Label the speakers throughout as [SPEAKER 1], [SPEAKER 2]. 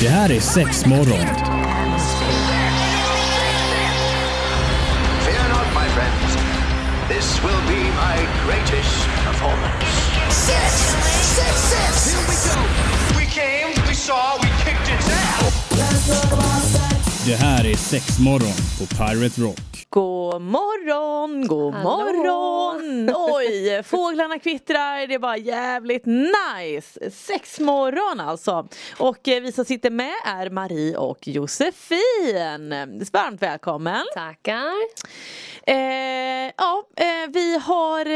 [SPEAKER 1] Det här är sex morgon.
[SPEAKER 2] Fear not, my friends. This will be my greatest performance.
[SPEAKER 3] Six, six, six. Here we go.
[SPEAKER 2] We came, we saw, we kicked its ass.
[SPEAKER 1] Det här är sex morgon på Pirate Rock.
[SPEAKER 4] God morgon, god
[SPEAKER 5] Hallå.
[SPEAKER 4] morgon! Oj, fåglarna kvittrar, det är bara jävligt nice! Sex morgon alltså! Och eh, vi som sitter med är Marie och Josefin. Varmt välkommen!
[SPEAKER 5] Tackar.
[SPEAKER 4] Eh, ja, eh, vi har, eh,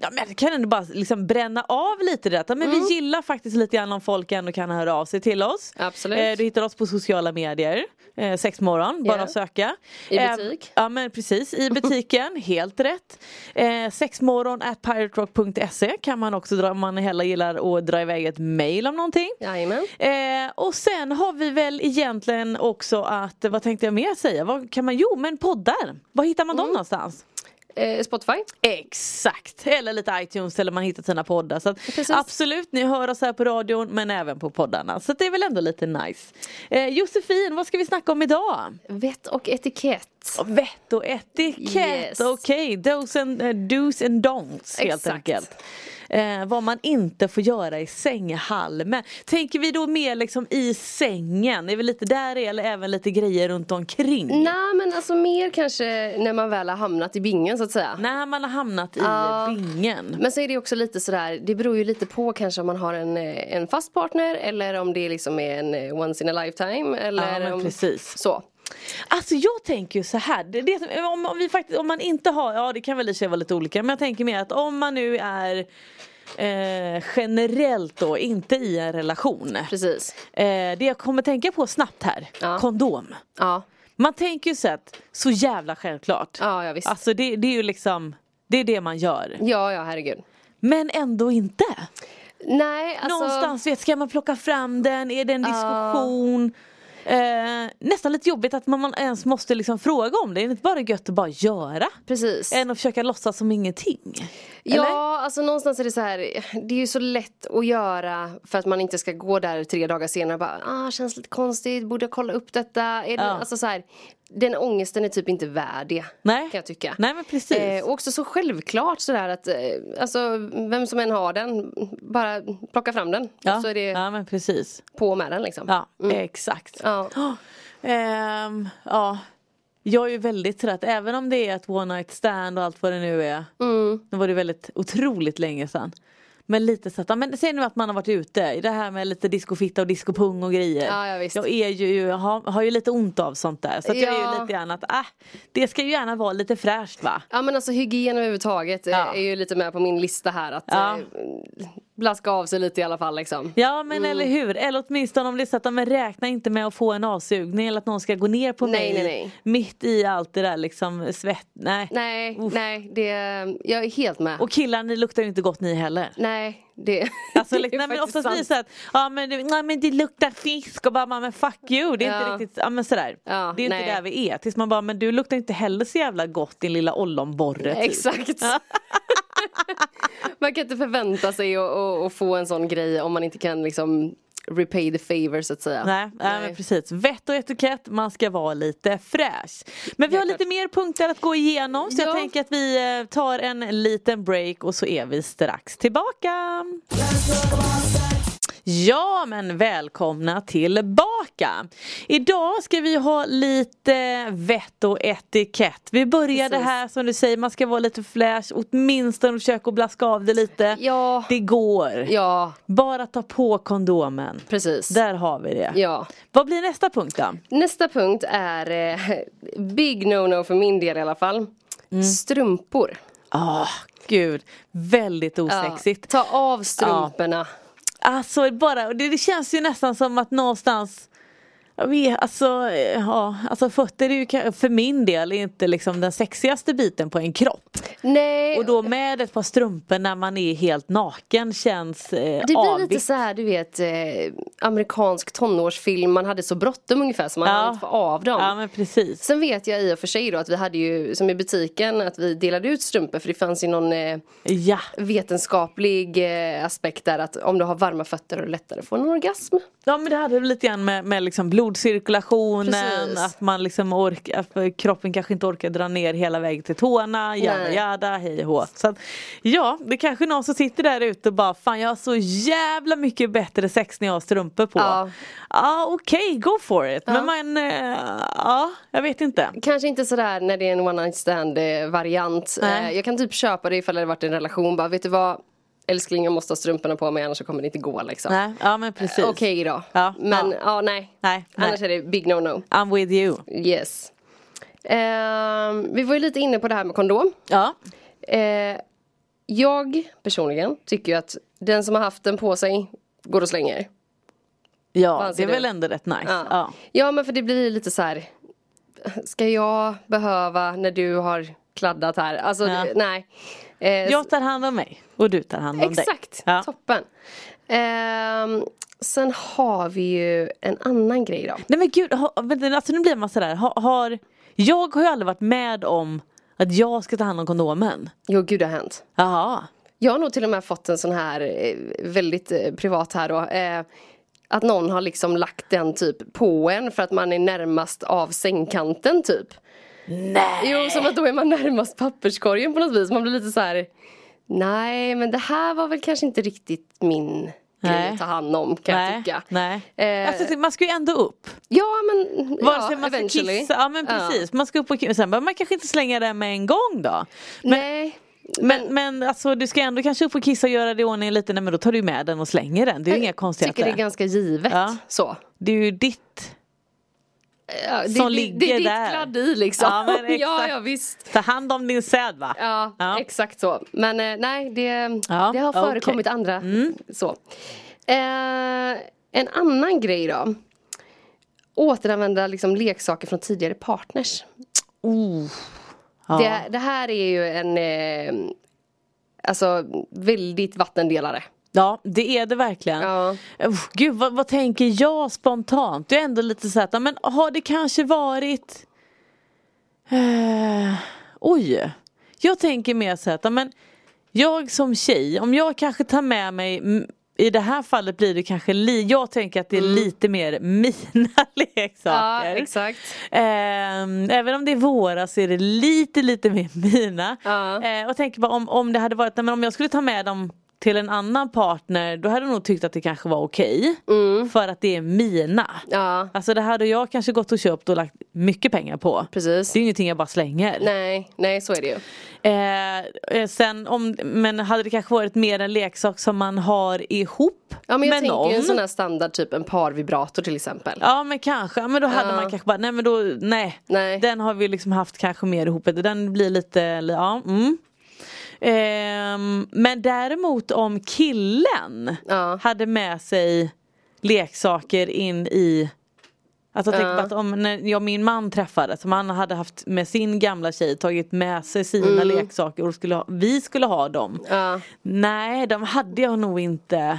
[SPEAKER 4] ja, men jag kan ändå bara liksom bränna av lite det detta. Men
[SPEAKER 5] Mm.
[SPEAKER 4] vi gillar faktiskt lite grann om folk ändå kan höra av sig till oss.
[SPEAKER 5] Absolut.
[SPEAKER 4] Eh, du hittar oss på sociala medier, eh, sexmorgon, bara
[SPEAKER 5] Ja.
[SPEAKER 4] att söka.
[SPEAKER 5] I
[SPEAKER 4] Eh,
[SPEAKER 5] butik.
[SPEAKER 4] ja men precis, i butiken, helt rätt. Eh, sexmorgon at piraterock.se kan man också dra om man hellre gillar att dra iväg ett mail om någonting.
[SPEAKER 5] Jajamän.
[SPEAKER 4] Eh, och sen har vi väl egentligen också att, vad tänkte jag mer säga? Vad kan man, jo men poddar, var hittar man dem någonstans?
[SPEAKER 5] Eh, Spotify.
[SPEAKER 4] Exakt, eller lite iTunes eller man hittar sina poddar. Så att
[SPEAKER 5] Precis.
[SPEAKER 4] absolut, ni hör oss här på radion men även på poddarna. Så att det är väl ändå lite nice. Eh, Josefin, vad ska vi snacka om idag?
[SPEAKER 5] Vett och etikett.
[SPEAKER 4] Vett och etikett,
[SPEAKER 5] Yes.
[SPEAKER 4] okej. Dos and, eh, do's and don'ts helt
[SPEAKER 5] Exakt.
[SPEAKER 4] enkelt. Eh, vad man inte får göra i sänghalmen. Tänker vi då mer liksom i sängen? Är vi lite där i, eller även lite grejer runt omkring?
[SPEAKER 5] Nej men alltså mer kanske när man väl har hamnat i bingen så att säga.
[SPEAKER 4] När man har hamnat i
[SPEAKER 5] Ja.
[SPEAKER 4] bingen.
[SPEAKER 5] Men så är det också lite sådär, det beror ju lite på kanske om man har en, eh, en fast partner eller om det liksom är en eh, once in a lifetime eller
[SPEAKER 4] Ja, men
[SPEAKER 5] om,
[SPEAKER 4] precis.
[SPEAKER 5] så.
[SPEAKER 4] Alltså jag tänker ju så här. Det, det, om, om, vi faktiskt, om man inte har, ja det kan väl i och för sig vara lite olika. Men jag tänker mer att om man nu är eh, generellt då, inte i en relation.
[SPEAKER 5] Precis.
[SPEAKER 4] Eh, det jag kommer tänka på snabbt här,
[SPEAKER 5] Ja.
[SPEAKER 4] kondom.
[SPEAKER 5] Ja,
[SPEAKER 4] Man tänker ju så att, så jävla självklart.
[SPEAKER 5] ja, ja visst.
[SPEAKER 4] Alltså det, det är ju liksom, det är det man gör.
[SPEAKER 5] Ja, ja herregud.
[SPEAKER 4] Men ändå inte.
[SPEAKER 5] Nej alltså.
[SPEAKER 4] Någonstans vet, ska man plocka fram den, är det en diskussion? Eh, nästan lite jobbigt att man, man ens måste liksom fråga om det. Det är inte bara gött att bara göra.
[SPEAKER 5] Precis.
[SPEAKER 4] Än att försöka låtsas som ingenting.
[SPEAKER 5] Ja,
[SPEAKER 4] Eller?
[SPEAKER 5] alltså någonstans är det så här. Det är ju så lätt att göra för att man inte ska gå där tre dagar senare och bara ah, känns lite konstigt, borde jag kolla upp detta? Är det,
[SPEAKER 4] Ja.
[SPEAKER 5] alltså så här, den ångesten är typ inte värd det.
[SPEAKER 4] Nej.
[SPEAKER 5] Kan jag tycka.
[SPEAKER 4] Nej men precis.
[SPEAKER 5] Eh, och också så självklart sådär att eh, alltså, vem som än har den, bara plocka fram den.
[SPEAKER 4] ja.
[SPEAKER 5] Och så är det
[SPEAKER 4] ja men precis.
[SPEAKER 5] på med den liksom.
[SPEAKER 4] Ja exakt.
[SPEAKER 5] Ja.
[SPEAKER 4] Ja. Ehm, ja. Jag är ju väldigt trött, även om det är ett one night stand och allt vad det nu är.
[SPEAKER 5] Mm.
[SPEAKER 4] Nu var det väldigt otroligt länge sedan. Men lite så att, ja, men säg nu att man har varit ute, det här med lite discofitta och discopung och grejer.
[SPEAKER 5] Ja, ja, visst.
[SPEAKER 4] Jag är ju, jag har, har ju lite ont av sånt där. Så att jag är ju
[SPEAKER 5] Ja.
[SPEAKER 4] lite grann att, äh, det ska ju gärna vara lite fräscht va?
[SPEAKER 5] Ja men alltså hygien överhuvudtaget eh,
[SPEAKER 4] Ja.
[SPEAKER 5] är ju lite med på min lista här att
[SPEAKER 4] Ja.
[SPEAKER 5] eh, blaska av sig lite i alla fall liksom.
[SPEAKER 4] Ja men eller hur, eller åtminstone om det är så att de räknar inte med att få en avsugning eller att någon ska gå ner på
[SPEAKER 5] Nej,
[SPEAKER 4] mig
[SPEAKER 5] nej, nej.
[SPEAKER 4] mitt i allt det där liksom svett, nej.
[SPEAKER 5] Nej,
[SPEAKER 4] Uff.
[SPEAKER 5] nej, det, jag är helt med.
[SPEAKER 4] Och killar ni luktar ju inte gott ni heller.
[SPEAKER 5] Nej, det,
[SPEAKER 4] Alltså,
[SPEAKER 5] det
[SPEAKER 4] liksom, nej, men
[SPEAKER 5] faktiskt
[SPEAKER 4] oftast blir det så att ja, men, det- nej, men det luktar fisk och bara men fuck you. Det är
[SPEAKER 5] Ja.
[SPEAKER 4] inte riktigt ja, men sådär.
[SPEAKER 5] Ja,
[SPEAKER 4] det är
[SPEAKER 5] nej.
[SPEAKER 4] inte där vi är. Tills man bara men du luktar inte heller så jävla gott din lilla ollonborre. typ.
[SPEAKER 5] Exakt. man kan inte förvänta sig att, att, att få en sån grej om man inte kan liksom repay the favor så att säga.
[SPEAKER 4] Nej, nej, men precis. Vett och etikett, man ska vara lite fräsch. Men vi har
[SPEAKER 5] Helt
[SPEAKER 4] lite mer punkter att gå igenom så jag
[SPEAKER 5] Ja.
[SPEAKER 4] tänker att vi eh, tar en liten break och så är vi strax tillbaka. Ja men välkomna tillbaka! Idag ska vi ha lite vett och etikett. Vi börjar
[SPEAKER 5] Precis.
[SPEAKER 4] det här som du säger, man ska vara lite flash, åtminstone försöka att blaska av det lite.
[SPEAKER 5] Ja.
[SPEAKER 4] Det går!
[SPEAKER 5] Ja,
[SPEAKER 4] Bara ta på kondomen.
[SPEAKER 5] precis.
[SPEAKER 4] Där har vi det.
[SPEAKER 5] Ja.
[SPEAKER 4] Vad blir nästa punkt då?
[SPEAKER 5] Nästa punkt är eh, big no-no för min del i alla fall.
[SPEAKER 4] Mm.
[SPEAKER 5] Strumpor.
[SPEAKER 4] Ah, gud. Väldigt
[SPEAKER 5] Ja.
[SPEAKER 4] osexigt.
[SPEAKER 5] Ta av strumporna.
[SPEAKER 4] Alltså bara, det, det känns ju nästan som att någonstans jag vet, alltså, eh, ja, alltså fötter är ju ka- för min del inte liksom den sexigaste biten på en kropp.
[SPEAKER 5] Nej,
[SPEAKER 4] Och då med ett par strumpor när man är helt naken känns eh,
[SPEAKER 5] det blir
[SPEAKER 4] avigt.
[SPEAKER 5] lite så här du vet eh, amerikansk tonårsfilm. Man hade så bråttom ungefär så man
[SPEAKER 4] Ja.
[SPEAKER 5] hann inte få av dem.
[SPEAKER 4] Ja men precis.
[SPEAKER 5] Sen vet jag i och för sig då att vi hade ju, som i butiken, att vi delade ut strumpor för det fanns ju någon eh,
[SPEAKER 4] Ja.
[SPEAKER 5] vetenskaplig eh, aspekt där att om du har varma fötter är det lättare att få en orgasm.
[SPEAKER 4] Ja men det hade väl lite grann med, med liksom blodcirkulationen,
[SPEAKER 5] Precis.
[SPEAKER 4] att man liksom orkar, att kroppen kanske inte orkar dra ner hela vägen till tårna, jada
[SPEAKER 5] Nej.
[SPEAKER 4] jada, hej och hå. Så att, ja, det är kanske någon som sitter där ute och bara fan jag har så jävla mycket bättre sex när jag har strumpor på. Ja,
[SPEAKER 5] Ja.
[SPEAKER 4] okej, go for it. Men man, eh, ja, jag vet inte.
[SPEAKER 5] Kanske inte sådär när det är en one night stand eh, variant.
[SPEAKER 4] Nej.
[SPEAKER 5] Eh, jag kan typ köpa det ifall det hade varit en relation. Bara, vet du vad? Älskling jag måste ha strumporna på mig annars så kommer det inte gå liksom.
[SPEAKER 4] Nej, ja men precis.
[SPEAKER 5] Eh, Okej då.
[SPEAKER 4] Ja,
[SPEAKER 5] Men
[SPEAKER 4] ja.
[SPEAKER 5] ja, nej.
[SPEAKER 4] Nej,
[SPEAKER 5] Annars
[SPEAKER 4] nej.
[SPEAKER 5] är det big no no.
[SPEAKER 4] I'm with you.
[SPEAKER 5] Yes. Ehm, vi var ju lite inne på det här med kondom.
[SPEAKER 4] Ja,
[SPEAKER 5] Eh, jag personligen tycker ju att den som har haft den på sig går och slänger.
[SPEAKER 4] ja det
[SPEAKER 5] anser
[SPEAKER 4] är väl
[SPEAKER 5] du?
[SPEAKER 4] ändå rätt nice.
[SPEAKER 5] Ja.
[SPEAKER 4] Ja.
[SPEAKER 5] Ja men för det blir lite så här. Ska jag behöva när du har kladdat här? Alltså
[SPEAKER 4] Ja.
[SPEAKER 5] det, nej. Eh,
[SPEAKER 4] Jag tar hand om mig och du tar hand om dig.
[SPEAKER 5] Exakt,
[SPEAKER 4] Ja.
[SPEAKER 5] toppen. Ehm, sen har vi ju en annan grej då.
[SPEAKER 4] Nej men gud, ha, vänta, alltså nu blir man sådär, ha, har, jag har ju aldrig varit med om att jag ska ta hand om kondomen.
[SPEAKER 5] Jo gud det har hänt.
[SPEAKER 4] Jaha.
[SPEAKER 5] Jag har nog till och med fått en sån här eh, väldigt eh, privat här då. Eh, att någon har liksom lagt den typ på en för att man är närmast av sängkanten typ. Nej! Jo, som att då är man närmast papperskorgen på något vis. Man blir lite så här. Nej, men det här var väl kanske inte riktigt min grej
[SPEAKER 4] Nej.
[SPEAKER 5] att ta hand om kan jag
[SPEAKER 4] Nej.
[SPEAKER 5] tycka.
[SPEAKER 4] nej.
[SPEAKER 5] Eh,
[SPEAKER 4] Alltså, man ska ju ändå upp.
[SPEAKER 5] Ja, men
[SPEAKER 4] Vare sig
[SPEAKER 5] ja,
[SPEAKER 4] man ska
[SPEAKER 5] eventually.
[SPEAKER 4] kissa, ja men precis. Man ska upp och kissa. Sen behöver man kanske inte slänga det med en gång då. Men,
[SPEAKER 5] Nej.
[SPEAKER 4] men, men alltså du ska ändå kanske upp och kissa och göra det i ordning lite. Nej men då tar du ju med den och slänger den. Det är ju inga konstigheter.
[SPEAKER 5] Tycker det är
[SPEAKER 4] Det,
[SPEAKER 5] ganska givet
[SPEAKER 4] Ja.
[SPEAKER 5] så.
[SPEAKER 4] är ju ditt.
[SPEAKER 5] Ja, det,
[SPEAKER 4] Som
[SPEAKER 5] det,
[SPEAKER 4] ligger
[SPEAKER 5] det är ditt
[SPEAKER 4] där.
[SPEAKER 5] kladd i liksom.
[SPEAKER 4] Ja, men exakt.
[SPEAKER 5] ja, ja visst.
[SPEAKER 4] Ta hand om din säd va?
[SPEAKER 5] Ja,
[SPEAKER 4] Ja.
[SPEAKER 5] exakt så. Men eh, nej, det,
[SPEAKER 4] Ja,
[SPEAKER 5] det har
[SPEAKER 4] okej. Mm.
[SPEAKER 5] förekommit andra. Så. Eh, en annan grej då. Återanvända liksom, leksaker från tidigare partners.
[SPEAKER 4] Ja.
[SPEAKER 5] Det, det här är ju en eh, alltså, väldigt vattendelare.
[SPEAKER 4] Ja det är det verkligen.
[SPEAKER 5] Ja.
[SPEAKER 4] Uff, gud vad, vad tänker jag spontant? Det är ändå lite så här att, ja, men har det kanske varit eh, Oj Jag tänker mer så här att, ja, men Jag som tjej, om jag kanske tar med mig mm, i det här fallet blir det kanske, li- jag tänker att det är lite mer mina leksaker.
[SPEAKER 5] Mm. exakt.
[SPEAKER 4] Ehm, även om det är våra så är det lite lite mer mina.
[SPEAKER 5] Ja.
[SPEAKER 4] Eh, och tänker bara om, om det hade varit, nej, men om jag skulle ta med dem till en annan partner då hade jag nog tyckt att det kanske var okej.
[SPEAKER 5] Mm.
[SPEAKER 4] För att det är mina.
[SPEAKER 5] Ja,
[SPEAKER 4] Alltså det här hade jag kanske gått och köpt och lagt mycket pengar på.
[SPEAKER 5] precis.
[SPEAKER 4] Det är ju ingenting jag bara slänger.
[SPEAKER 5] Nej, nej, så är det ju.
[SPEAKER 4] Eh, eh, sen om, men hade det kanske varit mer en leksak som man har ihop
[SPEAKER 5] Ja, men jag
[SPEAKER 4] med
[SPEAKER 5] tänker ju en
[SPEAKER 4] någon.
[SPEAKER 5] sån här standard, typ en parvibrator till exempel.
[SPEAKER 4] Ja men kanske, ja, men då hade
[SPEAKER 5] Ja.
[SPEAKER 4] man kanske bara nej men då nej.
[SPEAKER 5] Nej.
[SPEAKER 4] Den har vi liksom haft kanske mer ihop, den blir lite, ja mm. Ehm, Men däremot om killen
[SPEAKER 5] Ja.
[SPEAKER 4] hade med sig leksaker in i Alltså jag tänker på att om när jag och min man träffades, om han hade haft med sin gamla tjej tagit med sig sina leksaker och skulle ha, vi skulle ha dem.
[SPEAKER 5] Mm. Ja.
[SPEAKER 4] Nej, de hade jag nog inte.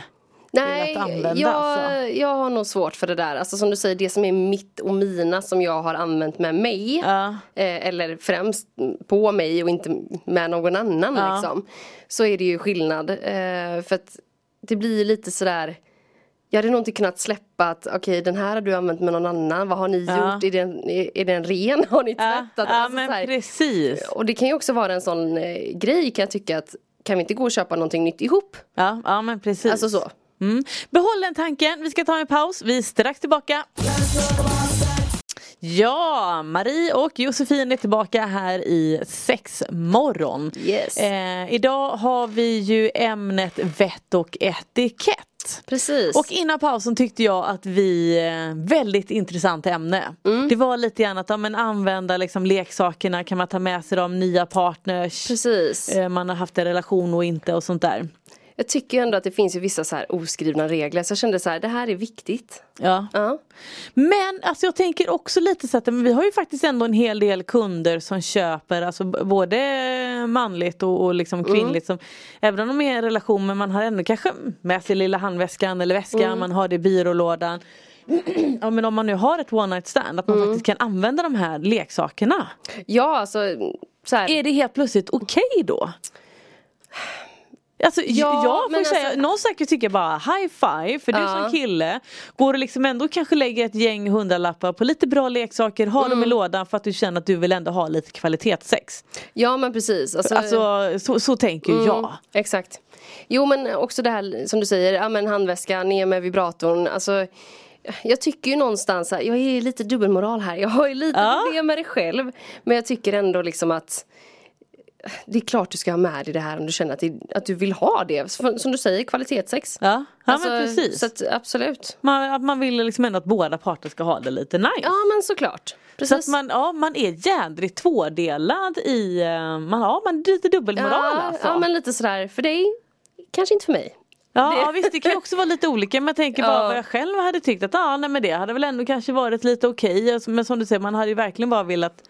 [SPEAKER 5] Nej,
[SPEAKER 4] att använda,
[SPEAKER 5] jag,
[SPEAKER 4] alltså.
[SPEAKER 5] jag har nog svårt för det där. Alltså som du säger, det som är mitt och mina som jag har använt med mig.
[SPEAKER 4] Ja.
[SPEAKER 5] Eh, eller främst på mig och inte med någon annan
[SPEAKER 4] Ja.
[SPEAKER 5] liksom. Så är det ju skillnad. Eh, för att det blir ju lite sådär. Jag hade nog inte kunnat släppa att okej den här har du använt med någon annan. Vad har ni
[SPEAKER 4] Ja.
[SPEAKER 5] gjort? Är den, är, är den ren? Har ni
[SPEAKER 4] Ja,
[SPEAKER 5] tvättat?
[SPEAKER 4] ja
[SPEAKER 5] Alltså, så
[SPEAKER 4] men
[SPEAKER 5] här.
[SPEAKER 4] precis.
[SPEAKER 5] och det kan ju också vara en sån eh, grej kan jag tycka att kan vi inte gå och köpa någonting nytt ihop?
[SPEAKER 4] Ja, ja men precis.
[SPEAKER 5] Alltså så.
[SPEAKER 4] Mm. Behåll den tanken, vi ska ta en paus, vi är strax tillbaka. Ja, Marie och Josefin är tillbaka här i sexmorgon.
[SPEAKER 5] Yes.
[SPEAKER 4] Eh, idag har vi ju ämnet vett och etikett.
[SPEAKER 5] Precis.
[SPEAKER 4] Och innan pausen tyckte jag att vi, eh, väldigt intressant ämne.
[SPEAKER 5] Mm.
[SPEAKER 4] Det var lite grann att ja, men använda liksom leksakerna, kan man ta med sig dem, nya partners,
[SPEAKER 5] Precis.
[SPEAKER 4] eh, man har haft en relation och inte och sånt där.
[SPEAKER 5] Jag tycker ju ändå att det finns ju vissa så här oskrivna regler så jag kände så här, det här är viktigt.
[SPEAKER 4] Ja.
[SPEAKER 5] Ja.
[SPEAKER 4] Men alltså jag tänker också lite så att men vi har ju faktiskt ändå en hel del kunder som köper alltså b- både manligt och, och liksom kvinnligt. Som, även om de är i en relation men man har ändå kanske med sig lilla handväskan eller väskan, man har det i byrålådan. ja, men om man nu har ett one night stand att man faktiskt kan använda de här leksakerna.
[SPEAKER 5] Ja, alltså så här.
[SPEAKER 4] Är det helt plötsligt okej då? Alltså,
[SPEAKER 5] Ja,
[SPEAKER 4] ja, jag får
[SPEAKER 5] men
[SPEAKER 4] ju säga,
[SPEAKER 5] alltså-
[SPEAKER 4] någon säkert tycker bara high five för du
[SPEAKER 5] Ja.
[SPEAKER 4] som kille går och liksom ändå kanske lägger ett gäng hundralappar på lite bra leksaker, ha
[SPEAKER 5] Mm.
[SPEAKER 4] dem i lådan för att du känner att du vill ändå ha lite kvalitetssex.
[SPEAKER 5] Ja men precis. Alltså,
[SPEAKER 4] Alltså så, så tänker
[SPEAKER 5] Mm.
[SPEAKER 4] ju jag.
[SPEAKER 5] Exakt. Jo men också det här som du säger, ja, men handväskan, ner med vibratorn. Alltså, jag tycker ju någonstans, så här, jag är lite dubbelmoral här. Jag har ju lite
[SPEAKER 4] Ja.
[SPEAKER 5] problem med det själv. Men jag tycker ändå liksom att det är klart du ska ha med dig det här om du känner att, det, att du vill ha det. Som som du säger, kvalitetssex.
[SPEAKER 4] Ja, ja
[SPEAKER 5] Alltså,
[SPEAKER 4] men precis.
[SPEAKER 5] Så att, absolut.
[SPEAKER 4] man, att man vill liksom ändå att båda parter ska ha det lite nice.
[SPEAKER 5] Ja men såklart.
[SPEAKER 4] Så
[SPEAKER 5] Precis.
[SPEAKER 4] att man, ja, man är jädrigt tvådelad i, eh, man, ja, man är lite dubbelmoral
[SPEAKER 5] ja,
[SPEAKER 4] alltså.
[SPEAKER 5] ja men lite sådär, för dig, kanske inte för mig.
[SPEAKER 4] Ja,
[SPEAKER 5] Det-
[SPEAKER 4] ja visst det kan ju också vara lite olika men jag tänker bara
[SPEAKER 5] Ja.
[SPEAKER 4] vad jag själv hade tyckt att ah, nej, men det hade väl ändå kanske varit lite okej Alltså, men som du säger man hade ju verkligen bara velat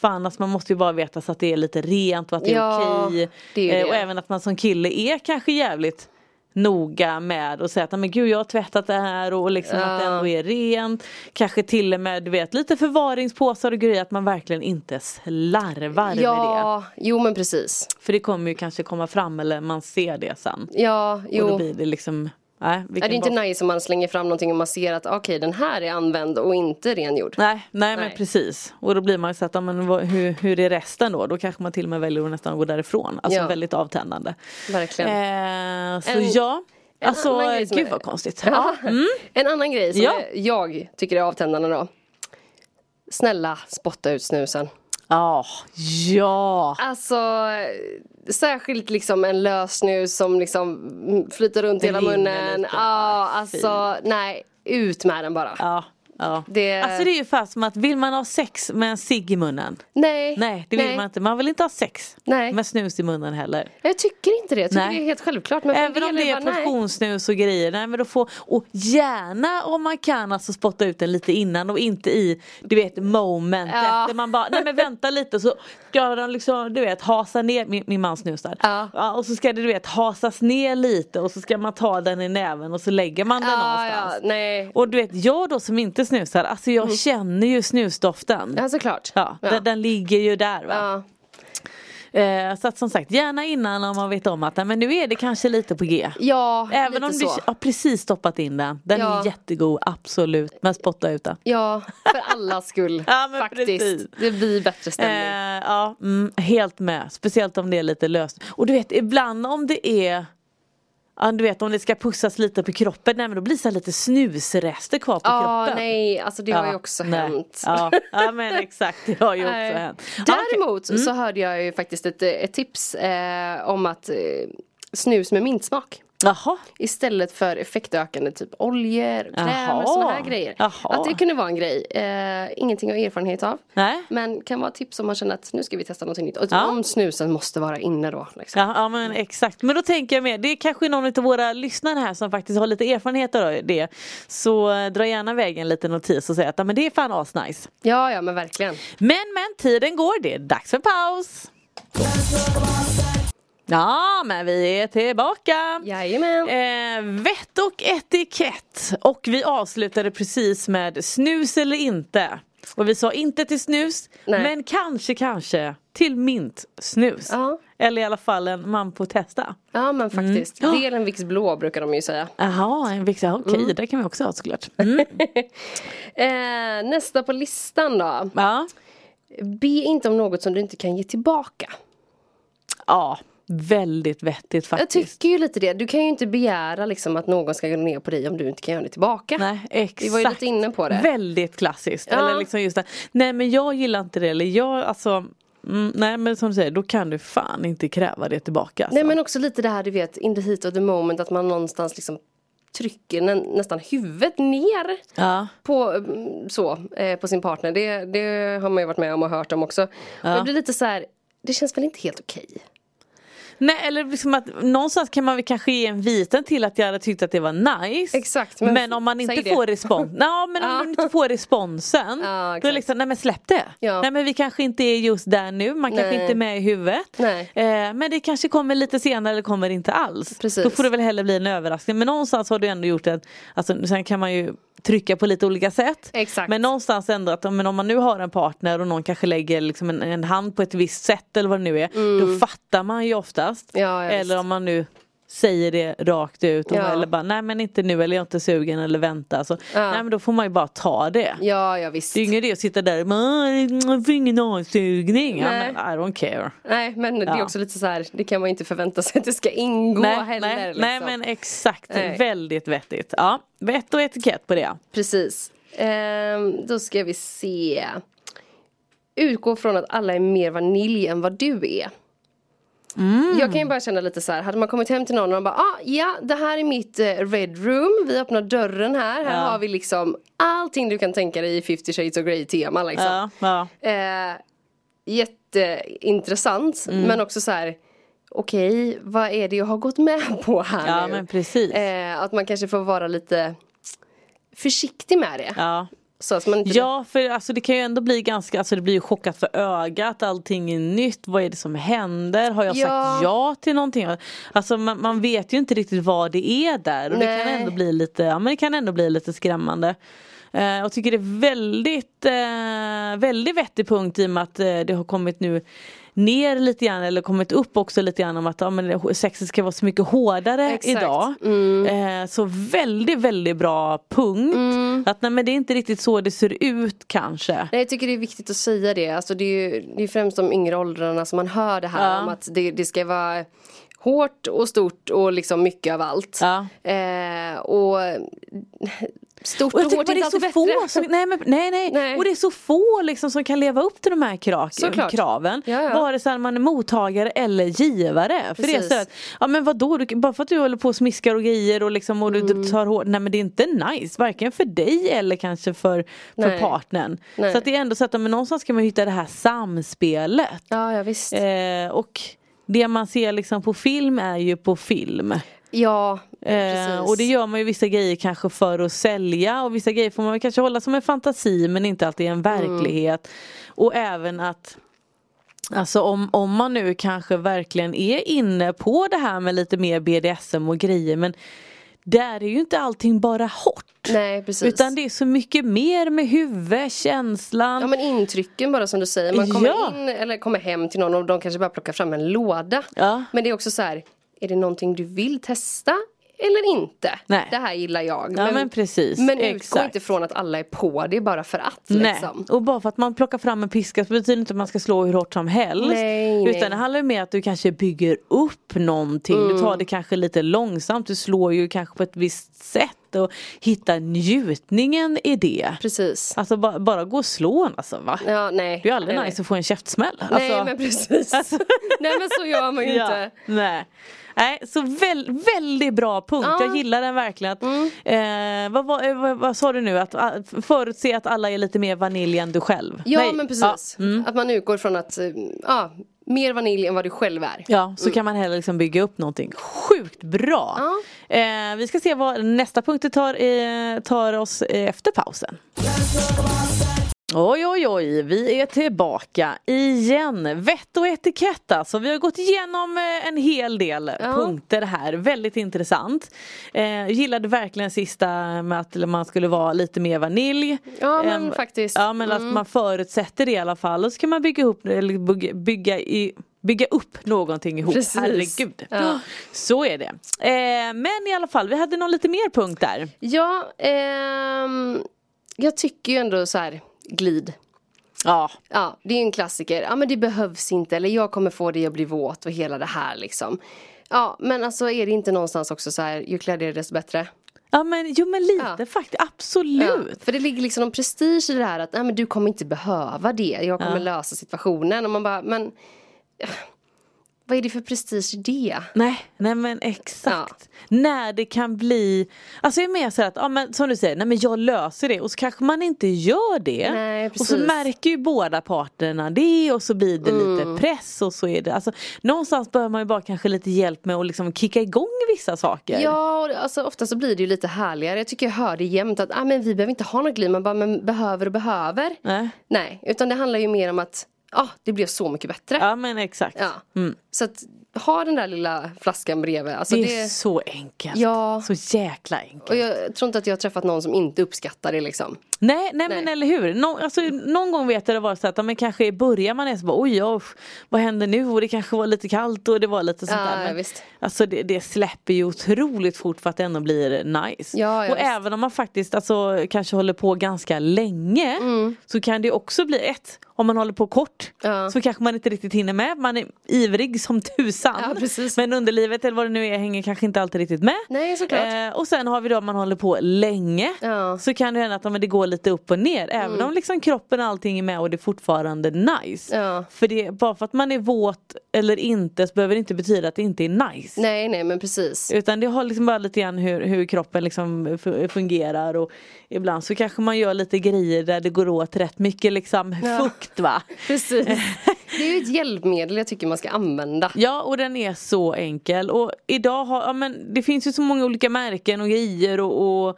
[SPEAKER 4] Fan alltså man måste ju bara veta så att det är lite rent och att det är
[SPEAKER 5] Ja,
[SPEAKER 4] okej
[SPEAKER 5] det är ju
[SPEAKER 4] Eh,
[SPEAKER 5] det.
[SPEAKER 4] Och även att man som kille är kanske jävligt noga med och säga att "Nej, men gud jag har tvättat det här och liksom att det ändå är rent Kanske till och med du vet lite förvaringspåsar och grejer att man verkligen inte slarvar med
[SPEAKER 5] Ja, jo men precis.
[SPEAKER 4] det För det kommer ju kanske komma fram eller man ser det sen
[SPEAKER 5] Ja, jo.
[SPEAKER 4] och då blir det liksom Nej, vi
[SPEAKER 5] Är
[SPEAKER 4] kan
[SPEAKER 5] det inte
[SPEAKER 4] bara-
[SPEAKER 5] nice om man slänger fram någonting och man ser att okej den här är använd och inte rengjord?
[SPEAKER 4] nej, nej,
[SPEAKER 5] Nej.
[SPEAKER 4] men precis. Och då blir man ju så att, ja, men vad, hur, hur är resten då? Då kanske man till och med väljer att nästan gå därifrån. Alltså
[SPEAKER 5] Ja.
[SPEAKER 4] väldigt avtändande.
[SPEAKER 5] Verkligen.
[SPEAKER 4] Eh, så
[SPEAKER 5] En-
[SPEAKER 4] ja,
[SPEAKER 5] en
[SPEAKER 4] alltså
[SPEAKER 5] annan grej som
[SPEAKER 4] gud
[SPEAKER 5] är-
[SPEAKER 4] vad konstigt.
[SPEAKER 5] Ja. En annan grej som
[SPEAKER 4] mm. Ja.
[SPEAKER 5] jag tycker är avtändande då. Snälla spotta ut snusen.
[SPEAKER 4] Ja, ja.
[SPEAKER 5] Alltså eh, särskilt liksom en lös snus som liksom mm, flyter runt i
[SPEAKER 4] Det
[SPEAKER 5] hela
[SPEAKER 4] rinner
[SPEAKER 5] munnen. Ja,
[SPEAKER 4] lite. Ah,
[SPEAKER 5] alltså nej, ut med den bara.
[SPEAKER 4] ja. Ja.
[SPEAKER 5] Det-
[SPEAKER 4] Alltså det är ju fast som att vill man ha sex med en cigg i munnen?
[SPEAKER 5] Nej,
[SPEAKER 4] Nej det vill man inte. Man vill inte ha sex
[SPEAKER 5] Nej.
[SPEAKER 4] med snus i munnen heller.
[SPEAKER 5] Jag tycker inte det. Jag tycker
[SPEAKER 4] Nej.
[SPEAKER 5] det är helt självklart. Men för en
[SPEAKER 4] Även om
[SPEAKER 5] del
[SPEAKER 4] det är
[SPEAKER 5] bara, nej.
[SPEAKER 4] portionssnus och grejer. Nej, men då får, och gärna om man kan alltså spotta ut den lite innan och inte i du vet momentet.
[SPEAKER 5] Ja.
[SPEAKER 4] Där man bara, nej men vänta lite så ska den liksom du vet hasa ner, min, min man snusar.
[SPEAKER 5] Ja.
[SPEAKER 4] och så ska det du vet hasas ner lite och så ska man ta den i näven och så lägger man den
[SPEAKER 5] Ja,
[SPEAKER 4] någonstans.
[SPEAKER 5] ja, nej.
[SPEAKER 4] Och du vet jag då som inte snusar, alltså jag känner ju snusdoften.
[SPEAKER 5] Mm. Ja, såklart.
[SPEAKER 4] Ja, Den, den ligger ju där va.
[SPEAKER 5] Ja.
[SPEAKER 4] Eh, så att som sagt gärna innan om man vet om att nej, men nu är det kanske lite på G.
[SPEAKER 5] Ja,
[SPEAKER 4] Även
[SPEAKER 5] lite
[SPEAKER 4] om du
[SPEAKER 5] så.
[SPEAKER 4] har precis stoppat in den. Den
[SPEAKER 5] Ja.
[SPEAKER 4] är jättegod, absolut. Men spotta ut den.
[SPEAKER 5] Ja, för allas skull.
[SPEAKER 4] Ja, men
[SPEAKER 5] faktiskt.
[SPEAKER 4] precis.
[SPEAKER 5] Det blir bättre
[SPEAKER 4] Eh,
[SPEAKER 5] stämning.
[SPEAKER 4] ja, mm, helt med. Speciellt om det är lite löst. Och du vet, ibland om det är Ja, du vet om det ska pussas lite på kroppen, nej men då blir det så här lite snusrester kvar på
[SPEAKER 5] Ja,
[SPEAKER 4] kroppen.
[SPEAKER 5] nej, alltså det har ju också
[SPEAKER 4] nej.
[SPEAKER 5] hänt.
[SPEAKER 4] Ja, ja men exakt, det har ju också
[SPEAKER 5] Nej.
[SPEAKER 4] hänt. Ja, okej. Mm.
[SPEAKER 5] Däremot så hörde jag ju faktiskt ett, ett tips eh, om att eh, snus med mintsmak.
[SPEAKER 4] Jaha,
[SPEAKER 5] Istället för effektökande typ oljor, krämer,
[SPEAKER 4] Jaha.
[SPEAKER 5] sådana här grejer.
[SPEAKER 4] Jaha.
[SPEAKER 5] Att det kunde vara en grej. Eh, ingenting jag har erfarenhet av.
[SPEAKER 4] nej.
[SPEAKER 5] Men kan vara ett tips om man känner att nu ska vi testa någonting nytt. Och
[SPEAKER 4] Ja.
[SPEAKER 5] om snusen måste vara inne då. Liksom.
[SPEAKER 4] Ja, ja men exakt, men då tänker jag mer, det är kanske någon av våra lyssnare här som faktiskt har lite erfarenhet av det. Så eh, dra gärna iväg en liten notis och säg att ja, men det är fan asnice.
[SPEAKER 5] Ja, ja men verkligen.
[SPEAKER 4] Men men tiden går, det är dags för paus. Ja men vi är tillbaka.
[SPEAKER 5] Jajamän.
[SPEAKER 4] Eh, vett och etikett. Och vi avslutade precis med snus eller inte. Och vi sa inte till snus
[SPEAKER 5] Nej.
[SPEAKER 4] men kanske kanske till mintsnus.
[SPEAKER 5] Ja.
[SPEAKER 4] Eller i alla fall en man på testa.
[SPEAKER 5] Ja men faktiskt.
[SPEAKER 4] Mm. Ja.
[SPEAKER 5] Del en Vicks blå brukar de ju säga.
[SPEAKER 4] Jaha, en växa, okej
[SPEAKER 5] Mm.
[SPEAKER 4] det kan vi också ha såklart. Mm.
[SPEAKER 5] Eh, nästa på listan då.
[SPEAKER 4] Ja.
[SPEAKER 5] Be inte om något som du inte kan ge tillbaka.
[SPEAKER 4] ja, väldigt vettigt
[SPEAKER 5] Jag
[SPEAKER 4] faktiskt.
[SPEAKER 5] tycker ju lite det. Du kan ju inte begära liksom att någon ska gå ner på dig om du inte kan göra det tillbaka.
[SPEAKER 4] Nej, exakt.
[SPEAKER 5] Vi var ju lite inne på det.
[SPEAKER 4] Väldigt klassiskt.
[SPEAKER 5] Ja.
[SPEAKER 4] Eller liksom just det. Nej men jag gillar inte det. Eller jag, alltså, mm, nej men som du säger, då kan du fan inte kräva det tillbaka. Alltså.
[SPEAKER 5] Nej men också lite det här du vet, in the heat of the moment att man någonstans liksom trycker nä nästan huvudet ner
[SPEAKER 4] Ja.
[SPEAKER 5] på, mm, så, eh, på sin partner. Det, det har man ju varit med om och hört om också. Och jag blir lite så här, det känns väl inte helt okej?
[SPEAKER 4] Nej eller liksom att någonstans kan man väl kanske ge en viten till att jag hade tyckt att det var nice.
[SPEAKER 5] Exakt, men
[SPEAKER 4] Men, om man
[SPEAKER 5] säg
[SPEAKER 4] inte
[SPEAKER 5] det.
[SPEAKER 4] får respons, ja, men om
[SPEAKER 5] Ja.
[SPEAKER 4] man inte får responsen. då
[SPEAKER 5] Ja,
[SPEAKER 4] är
[SPEAKER 5] exakt.
[SPEAKER 4] det liksom, nej men släpp det.
[SPEAKER 5] Ja.
[SPEAKER 4] Nej men vi kanske inte är just där nu, man kanske
[SPEAKER 5] Nej.
[SPEAKER 4] inte är med i huvudet.
[SPEAKER 5] Nej.
[SPEAKER 4] Eh, men det kanske kommer lite senare eller kommer inte alls.
[SPEAKER 5] Precis.
[SPEAKER 4] Då får det väl hellre bli en överraskning. Men någonstans har du ändå gjort en, alltså, sen kan man ju trycka på lite olika sätt.
[SPEAKER 5] Exakt.
[SPEAKER 4] Men någonstans ändå att ja, men om man nu har en partner och någon kanske lägger liksom en, en hand på ett visst sätt eller vad det nu är. Då fattar man ju oftast.
[SPEAKER 5] Mm. Ja, ja,
[SPEAKER 4] eller
[SPEAKER 5] visst.
[SPEAKER 4] om man nu säger det rakt ut och
[SPEAKER 5] Ja.
[SPEAKER 4] eller bara nej men inte nu eller jag är inte sugen eller vänta. Så, Nej men då får man ju bara ta det.
[SPEAKER 5] Ja, ja visst.
[SPEAKER 4] Det är ju ingen idé att sitta där och bara, jag får ingen avsugning. Ja,
[SPEAKER 5] Nej.
[SPEAKER 4] men, I don't care.
[SPEAKER 5] Nej, men det är
[SPEAKER 4] Ja.
[SPEAKER 5] också lite så här, det kan man ju inte förvänta sig att det ska ingå
[SPEAKER 4] nej,
[SPEAKER 5] heller.
[SPEAKER 4] nej,
[SPEAKER 5] liksom.
[SPEAKER 4] nej men exakt,
[SPEAKER 5] Nej.
[SPEAKER 4] väldigt vettigt. Ja, vett och etikett på det.
[SPEAKER 5] Precis. Ehm, då ska vi se. Utgå från att alla är mer vanilj än vad du är.
[SPEAKER 4] Mm.
[SPEAKER 5] Jag kan ju bara känna lite så här, hade man kommit hem till någon och de bara ah, ja det här är mitt eh, red room, vi öppnar dörren här, här har vi liksom allting du kan tänka dig i 50 shades of grey tema liksom.
[SPEAKER 4] Ja, ja.
[SPEAKER 5] Eh, jätteintressant
[SPEAKER 4] Mm.
[SPEAKER 5] men också så här Okej, vad är det jag har gått med på här
[SPEAKER 4] Ja,
[SPEAKER 5] nu?
[SPEAKER 4] men precis.
[SPEAKER 5] Eh, att man kanske får vara lite försiktig med det.
[SPEAKER 4] ja.
[SPEAKER 5] Så att man inte...
[SPEAKER 4] Ja för alltså, det kan ju ändå bli ganska, alltså det blir ju chockat för ögat, allting är nytt, vad är det som händer, har jag
[SPEAKER 5] Ja.
[SPEAKER 4] sagt ja till någonting? Alltså man, man vet ju inte riktigt vad det är där och det kan
[SPEAKER 5] Nej.
[SPEAKER 4] ändå bli lite, ja men det kan ändå bli lite skrämmande. Eh, Jag tycker det är väldigt, eh, väldigt vettig punkt i och med att eh, det har kommit nu ner lite grann eller kommit upp också lite grann om att ja, men det- sexet ska vara så mycket hårdare
[SPEAKER 5] Exakt. Mm.
[SPEAKER 4] idag. Eh, så väldigt väldigt bra punkt. Att nej, men det är inte riktigt så det ser ut kanske.
[SPEAKER 5] Nej, jag tycker det är viktigt att säga det. Alltså, det är ju det är främst de yngre åldrarna som man hör det här
[SPEAKER 4] Ja.
[SPEAKER 5] om att det, det ska vara hårt och stort och liksom mycket av allt.
[SPEAKER 4] Ja.
[SPEAKER 5] Eh, och stort
[SPEAKER 4] Och
[SPEAKER 5] och,
[SPEAKER 4] jag
[SPEAKER 5] hårt
[SPEAKER 4] tycker
[SPEAKER 5] är
[SPEAKER 4] bara det
[SPEAKER 5] inte
[SPEAKER 4] är så
[SPEAKER 5] alltid
[SPEAKER 4] få
[SPEAKER 5] bättre.
[SPEAKER 4] som, nej, men, nej, nej.
[SPEAKER 5] Nej.
[SPEAKER 4] Och det är så få liksom som kan leva upp till de här krak-
[SPEAKER 5] Såklart.
[SPEAKER 4] kraven.
[SPEAKER 5] Ja, ja.
[SPEAKER 4] Vare sig man är mottagare eller givare. För det är
[SPEAKER 5] Precis.
[SPEAKER 4] så här att, ja men vadå, du, bara för att du håller på och smiskar och grejer och, liksom, och
[SPEAKER 5] Mm.
[SPEAKER 4] du tar hårt, nej men det är inte nice. Varken för dig eller kanske för, för
[SPEAKER 5] Nej.
[SPEAKER 4] partnern.
[SPEAKER 5] Nej.
[SPEAKER 4] Så att det är ändå så att men någonstans ska man hitta det här samspelet.
[SPEAKER 5] Ja, ja visst.
[SPEAKER 4] Eh, och det man ser liksom på film är ju på film.
[SPEAKER 5] ja,
[SPEAKER 4] Eh,
[SPEAKER 5] precis.
[SPEAKER 4] och det gör man ju vissa grejer kanske för att sälja och vissa grejer får man väl kanske hålla som en fantasi men inte alltid
[SPEAKER 5] Mm.
[SPEAKER 4] en verklighet. Och även att Alltså om, om man nu kanske verkligen är inne på det här med lite mer BDSM och grejer men där är ju inte allting bara hårt.
[SPEAKER 5] Nej, precis.
[SPEAKER 4] Utan det är så mycket mer med huvudet, känslan,
[SPEAKER 5] Ja men intrycken bara som du säger. Man kommer
[SPEAKER 4] Ja.
[SPEAKER 5] in eller kommer hem till någon och de kanske bara plockar fram en låda.
[SPEAKER 4] Ja.
[SPEAKER 5] Men det är också så här, är det någonting du vill testa eller inte?
[SPEAKER 4] Nej.
[SPEAKER 5] Det här gillar jag.
[SPEAKER 4] Ja, men precis.
[SPEAKER 5] Men utgå
[SPEAKER 4] Exakt.
[SPEAKER 5] inte från att alla är på det bara för att liksom.
[SPEAKER 4] Nej. Och bara för att man plockar fram en piska så betyder det inte att man ska slå hur hårt som helst.
[SPEAKER 5] Nej,
[SPEAKER 4] utan
[SPEAKER 5] nej.
[SPEAKER 4] det handlar ju mer att du kanske bygger upp någonting. Du
[SPEAKER 5] Mm.
[SPEAKER 4] tar det kanske lite långsamt. Du slår ju kanske på ett visst sätt och hittar njutningen i det.
[SPEAKER 5] Precis.
[SPEAKER 4] Alltså bara, bara gå och slå en alltså va?
[SPEAKER 5] Ja, nej.
[SPEAKER 4] Det är ju aldrig
[SPEAKER 5] nej,
[SPEAKER 4] nice att få en käftsmäll.
[SPEAKER 5] Nej,
[SPEAKER 4] alltså,
[SPEAKER 5] nej men precis.
[SPEAKER 4] Alltså-
[SPEAKER 5] nej men så gör man ju inte.
[SPEAKER 4] nej. nej, så väl, väldigt bra punkt.
[SPEAKER 5] Ja. Mm.
[SPEAKER 4] Jag gillar den verkligen. Att, eh, vad, vad, eh, vad, vad sa du nu? Att ah, förutse att alla är lite mer vanilj än du själv.
[SPEAKER 5] Ja
[SPEAKER 4] nej.
[SPEAKER 5] men
[SPEAKER 4] Ja. Mm.
[SPEAKER 5] precis. Att man utgår från att, eh, ja, mer vanilj än vad du själv är.
[SPEAKER 4] Ja, så kan man heller liksom bygga upp någonting. Sjukt bra! Eh, vi ska se vad nästa punkter tar, eh, tar oss eh, efter pausen. Oj, oj, oj, vi är tillbaka igen. Vett och etikett alltså. Vi har gått igenom eh, en hel del punkter här. Väldigt intressant. Eh, gillade verkligen sista med att man skulle vara lite mer vanilj.
[SPEAKER 5] Ja, men
[SPEAKER 4] Ehm,
[SPEAKER 5] faktiskt. Mm.
[SPEAKER 4] Ja, men att man förutsätter det i alla fall. Och så kan man bygga upp, eller bygga, bygga, i, bygga upp någonting ihop.
[SPEAKER 5] Precis.
[SPEAKER 4] Herregud.
[SPEAKER 5] Ja.
[SPEAKER 4] Så är det. Eh, men i alla fall, vi hade någon lite mer punkt där.
[SPEAKER 5] Ja, ehm, jag tycker ju ändå så här, glid.
[SPEAKER 4] Ja,
[SPEAKER 5] Ja, det är ju en klassiker. Ja, men det behövs inte. Eller jag kommer få det, jag blir våt och hela det här liksom. Ja, men alltså är det inte någonstans också så här, ju kläddigare desto bättre.
[SPEAKER 4] ja men, jo men lite
[SPEAKER 5] Ja.
[SPEAKER 4] faktiskt.
[SPEAKER 5] Ja,
[SPEAKER 4] Absolut.
[SPEAKER 5] för det ligger liksom någon prestige i det här att nej, men du kommer inte behöva det. Jag kommer lösa situationen. Och man bara, men eh, Vad är det för prestige i det?
[SPEAKER 4] Nej, nej men exakt. När det kan bli, alltså jag är mer så här att, ja, men, som du säger, nej men jag löser det och så kanske man inte gör det.
[SPEAKER 5] Nej,
[SPEAKER 4] och så
[SPEAKER 5] precis.
[SPEAKER 4] märker ju båda parterna det och så blir det
[SPEAKER 5] Mm.
[SPEAKER 4] lite press och så är det, alltså någonstans behöver man ju bara kanske lite hjälp med att liksom kicka igång vissa saker.
[SPEAKER 5] Ja, och det- alltså, ofta så blir det ju lite härligare. Jag tycker jag hör det jämt att ah, men vi behöver inte ha något liv. Man bara, men behöver och behöver.
[SPEAKER 4] Nej.
[SPEAKER 5] Nej, utan det handlar ju mer om att ah, det blev så mycket bättre.
[SPEAKER 4] ja men exakt.
[SPEAKER 5] Ja. Så att ha den där lilla flaskan bredvid. Alltså,
[SPEAKER 4] Det
[SPEAKER 5] det
[SPEAKER 4] är så enkelt.
[SPEAKER 5] Ja.
[SPEAKER 4] Så jäkla enkelt.
[SPEAKER 5] Och jag tror inte att jag har träffat någon som inte uppskattar det liksom.
[SPEAKER 4] Nej, nej, men
[SPEAKER 5] Nej.
[SPEAKER 4] eller hur. Nå, alltså, någon gång vet jag det var så att ja, men kanske i början man är så bara oj, ja, usch, vad händer nu och det kanske var lite kallt och det var lite sånt
[SPEAKER 5] Ja,
[SPEAKER 4] där.
[SPEAKER 5] ja,
[SPEAKER 4] Men,
[SPEAKER 5] visst.
[SPEAKER 4] Alltså det, det släpper ju otroligt fort för att det ändå blir nice.
[SPEAKER 5] Ja, ja,
[SPEAKER 4] och
[SPEAKER 5] visst.
[SPEAKER 4] även om man faktiskt alltså, kanske håller på ganska länge så kan det ju också bli ett, om man håller på kort
[SPEAKER 5] Mm. Ja.
[SPEAKER 4] så kanske man inte riktigt hinner med. Man är ivrig som tusan.
[SPEAKER 5] Ja, precis.
[SPEAKER 4] Men underlivet eller vad det nu är hänger kanske inte alltid riktigt med.
[SPEAKER 5] Nej, såklart.
[SPEAKER 4] Eh, och sen har vi då om man håller på länge
[SPEAKER 5] Ja. Mm.
[SPEAKER 4] så kan det hända att ja, men det går lite upp och ner även om liksom kroppen och allting är med och det är fortfarande nice.
[SPEAKER 5] Ja.
[SPEAKER 4] För det, bara för att man är våt eller inte så behöver det inte betyda att det inte är nice.
[SPEAKER 5] Nej, nej men precis.
[SPEAKER 4] Utan det har liksom bara lite grann hur, hur kroppen liksom fu- fungerar och ibland så kanske man gör lite grejer där det går åt rätt mycket liksom fukt va. Eh,
[SPEAKER 5] Precis. Det är ju ett hjälpmedel jag tycker man ska använda.
[SPEAKER 4] Ja och den är så enkel och idag har, ja men det finns ju så många olika märken och grejer och,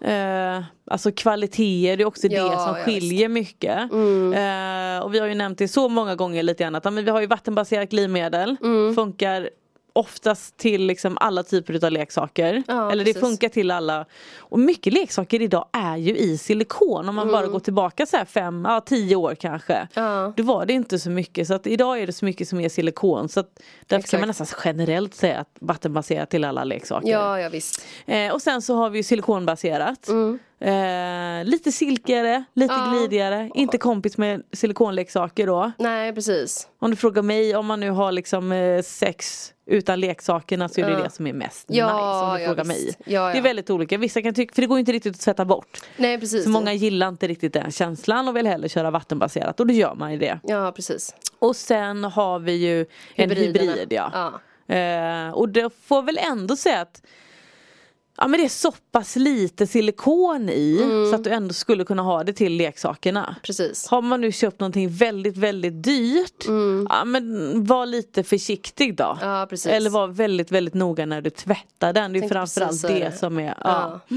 [SPEAKER 4] och eh, Alltså kvaliteter, det är också
[SPEAKER 5] Ja, Mm.
[SPEAKER 4] det som
[SPEAKER 5] ja,
[SPEAKER 4] skiljer mycket. Eh, och vi har ju nämnt det så många gånger lite grann att ja, men vi har ju vattenbaserat glidmedel,
[SPEAKER 5] Mm.
[SPEAKER 4] funkar oftast till liksom alla typer av leksaker.
[SPEAKER 5] Ja,
[SPEAKER 4] Eller det
[SPEAKER 5] precis.
[SPEAKER 4] funkar till alla. Och mycket leksaker idag är ju i silikon om man bara går tillbaka så här fem, ja tio år kanske.
[SPEAKER 5] Mm. Ja.
[SPEAKER 4] Då var det inte så mycket så att idag är det så mycket som är silikon så att därför kan
[SPEAKER 5] Exakt.
[SPEAKER 4] man nästan generellt säga att vattenbaserat till alla leksaker.
[SPEAKER 5] Ja, ja visst.
[SPEAKER 4] Eh, och sen så har vi ju silikonbaserat. Eh, lite silkigare, lite
[SPEAKER 5] Mm. Ja.
[SPEAKER 4] glidigare, inte kompis med silikonleksaker då.
[SPEAKER 5] Nej, precis.
[SPEAKER 4] Om du frågar mig om man nu har liksom eh, sex utan leksakerna så är det
[SPEAKER 5] Ja.
[SPEAKER 4] det som är mest
[SPEAKER 5] Ja,
[SPEAKER 4] nice om du
[SPEAKER 5] ja,
[SPEAKER 4] frågar mig.
[SPEAKER 5] visst. Ja,
[SPEAKER 4] Det är
[SPEAKER 5] ja.
[SPEAKER 4] väldigt olika, vissa kan tycka, för det går ju inte riktigt att tvätta bort.
[SPEAKER 5] Nej, precis.
[SPEAKER 4] Så många gillar inte riktigt den känslan och vill hellre köra vattenbaserat och då gör man ju det.
[SPEAKER 5] Ja, precis.
[SPEAKER 4] Och sen har vi ju en
[SPEAKER 5] Hybriderna.
[SPEAKER 4] hybrid ja. Eh, och det får väl ändå säga att Ja men det är så pass lite silikon i
[SPEAKER 5] Mm.
[SPEAKER 4] så att du ändå skulle kunna ha det till leksakerna.
[SPEAKER 5] Precis.
[SPEAKER 4] Har man nu köpt någonting väldigt väldigt dyrt, ja men var lite försiktig då.
[SPEAKER 5] Mm. Ja, precis.
[SPEAKER 4] Eller var väldigt väldigt noga när du tvättar den. Det är
[SPEAKER 5] Tänkte
[SPEAKER 4] framförallt
[SPEAKER 5] precis
[SPEAKER 4] det,
[SPEAKER 5] säga det.
[SPEAKER 4] som är, ja.
[SPEAKER 5] Ja.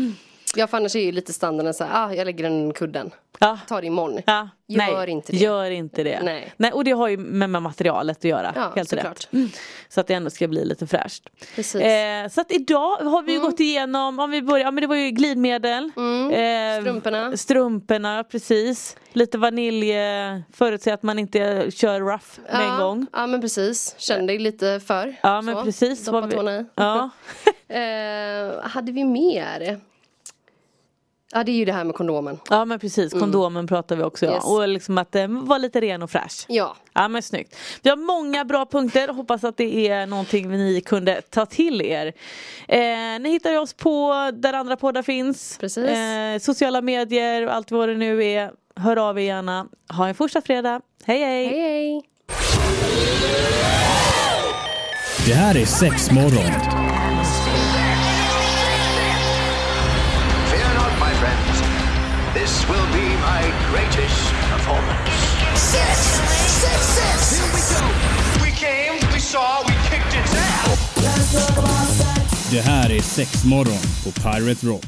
[SPEAKER 5] ja, för annars är ju lite standarden så här, ah, jag lägger den i kudden.
[SPEAKER 4] Ja.
[SPEAKER 5] Ta det imorgon.
[SPEAKER 4] Ja,
[SPEAKER 5] Gör
[SPEAKER 4] nej,
[SPEAKER 5] inte det.
[SPEAKER 4] Gör inte det.
[SPEAKER 5] Nej.
[SPEAKER 4] och det har ju med, med materialet att göra.
[SPEAKER 5] Ja,
[SPEAKER 4] helt rätt.
[SPEAKER 5] såklart.
[SPEAKER 4] Mm. Så att det ändå ska bli lite fräscht.
[SPEAKER 5] Precis. Mm.
[SPEAKER 4] Eh, så att idag har vi ju gått igenom, om vi börjar, ja, men det var ju glidmedel. Eh,
[SPEAKER 5] Strumporna.
[SPEAKER 4] Strumporna, precis. Lite vanilj, eh, förutsätt att man inte kör rough med en
[SPEAKER 5] Ja,
[SPEAKER 4] gång.
[SPEAKER 5] Ja, men precis. Känn dig lite för.
[SPEAKER 4] Ja men
[SPEAKER 5] Så.
[SPEAKER 4] precis.
[SPEAKER 5] Doppa
[SPEAKER 4] vad vi-
[SPEAKER 5] tårna i.
[SPEAKER 4] Ja.
[SPEAKER 5] Eh, hade vi mer? Ja, det är ju det här med kondomen.
[SPEAKER 4] ja men precis, kondomen pratar vi också om.
[SPEAKER 5] Mm. Yes.
[SPEAKER 4] Och liksom att eh, vara lite ren och fräsch.
[SPEAKER 5] Ja.
[SPEAKER 4] Ja men snyggt. Vi har många bra punkter, hoppas att det är någonting ni kunde ta till er. Eh, ni hittar oss på där andra poddar finns.
[SPEAKER 5] Precis.
[SPEAKER 4] Eh, sociala medier och allt vad det nu är. Hör av er gärna. Ha en fortsatt fredag. Hej hej!
[SPEAKER 5] Hej, hej.
[SPEAKER 1] Det här är Sexmorgon
[SPEAKER 2] Fear not, my friends. This will be my greatest performance.
[SPEAKER 3] Six, six, six. Here we go.
[SPEAKER 2] We came, we saw, we kicked its ass.
[SPEAKER 1] Det här är Sexmorgon på Pirate Rock.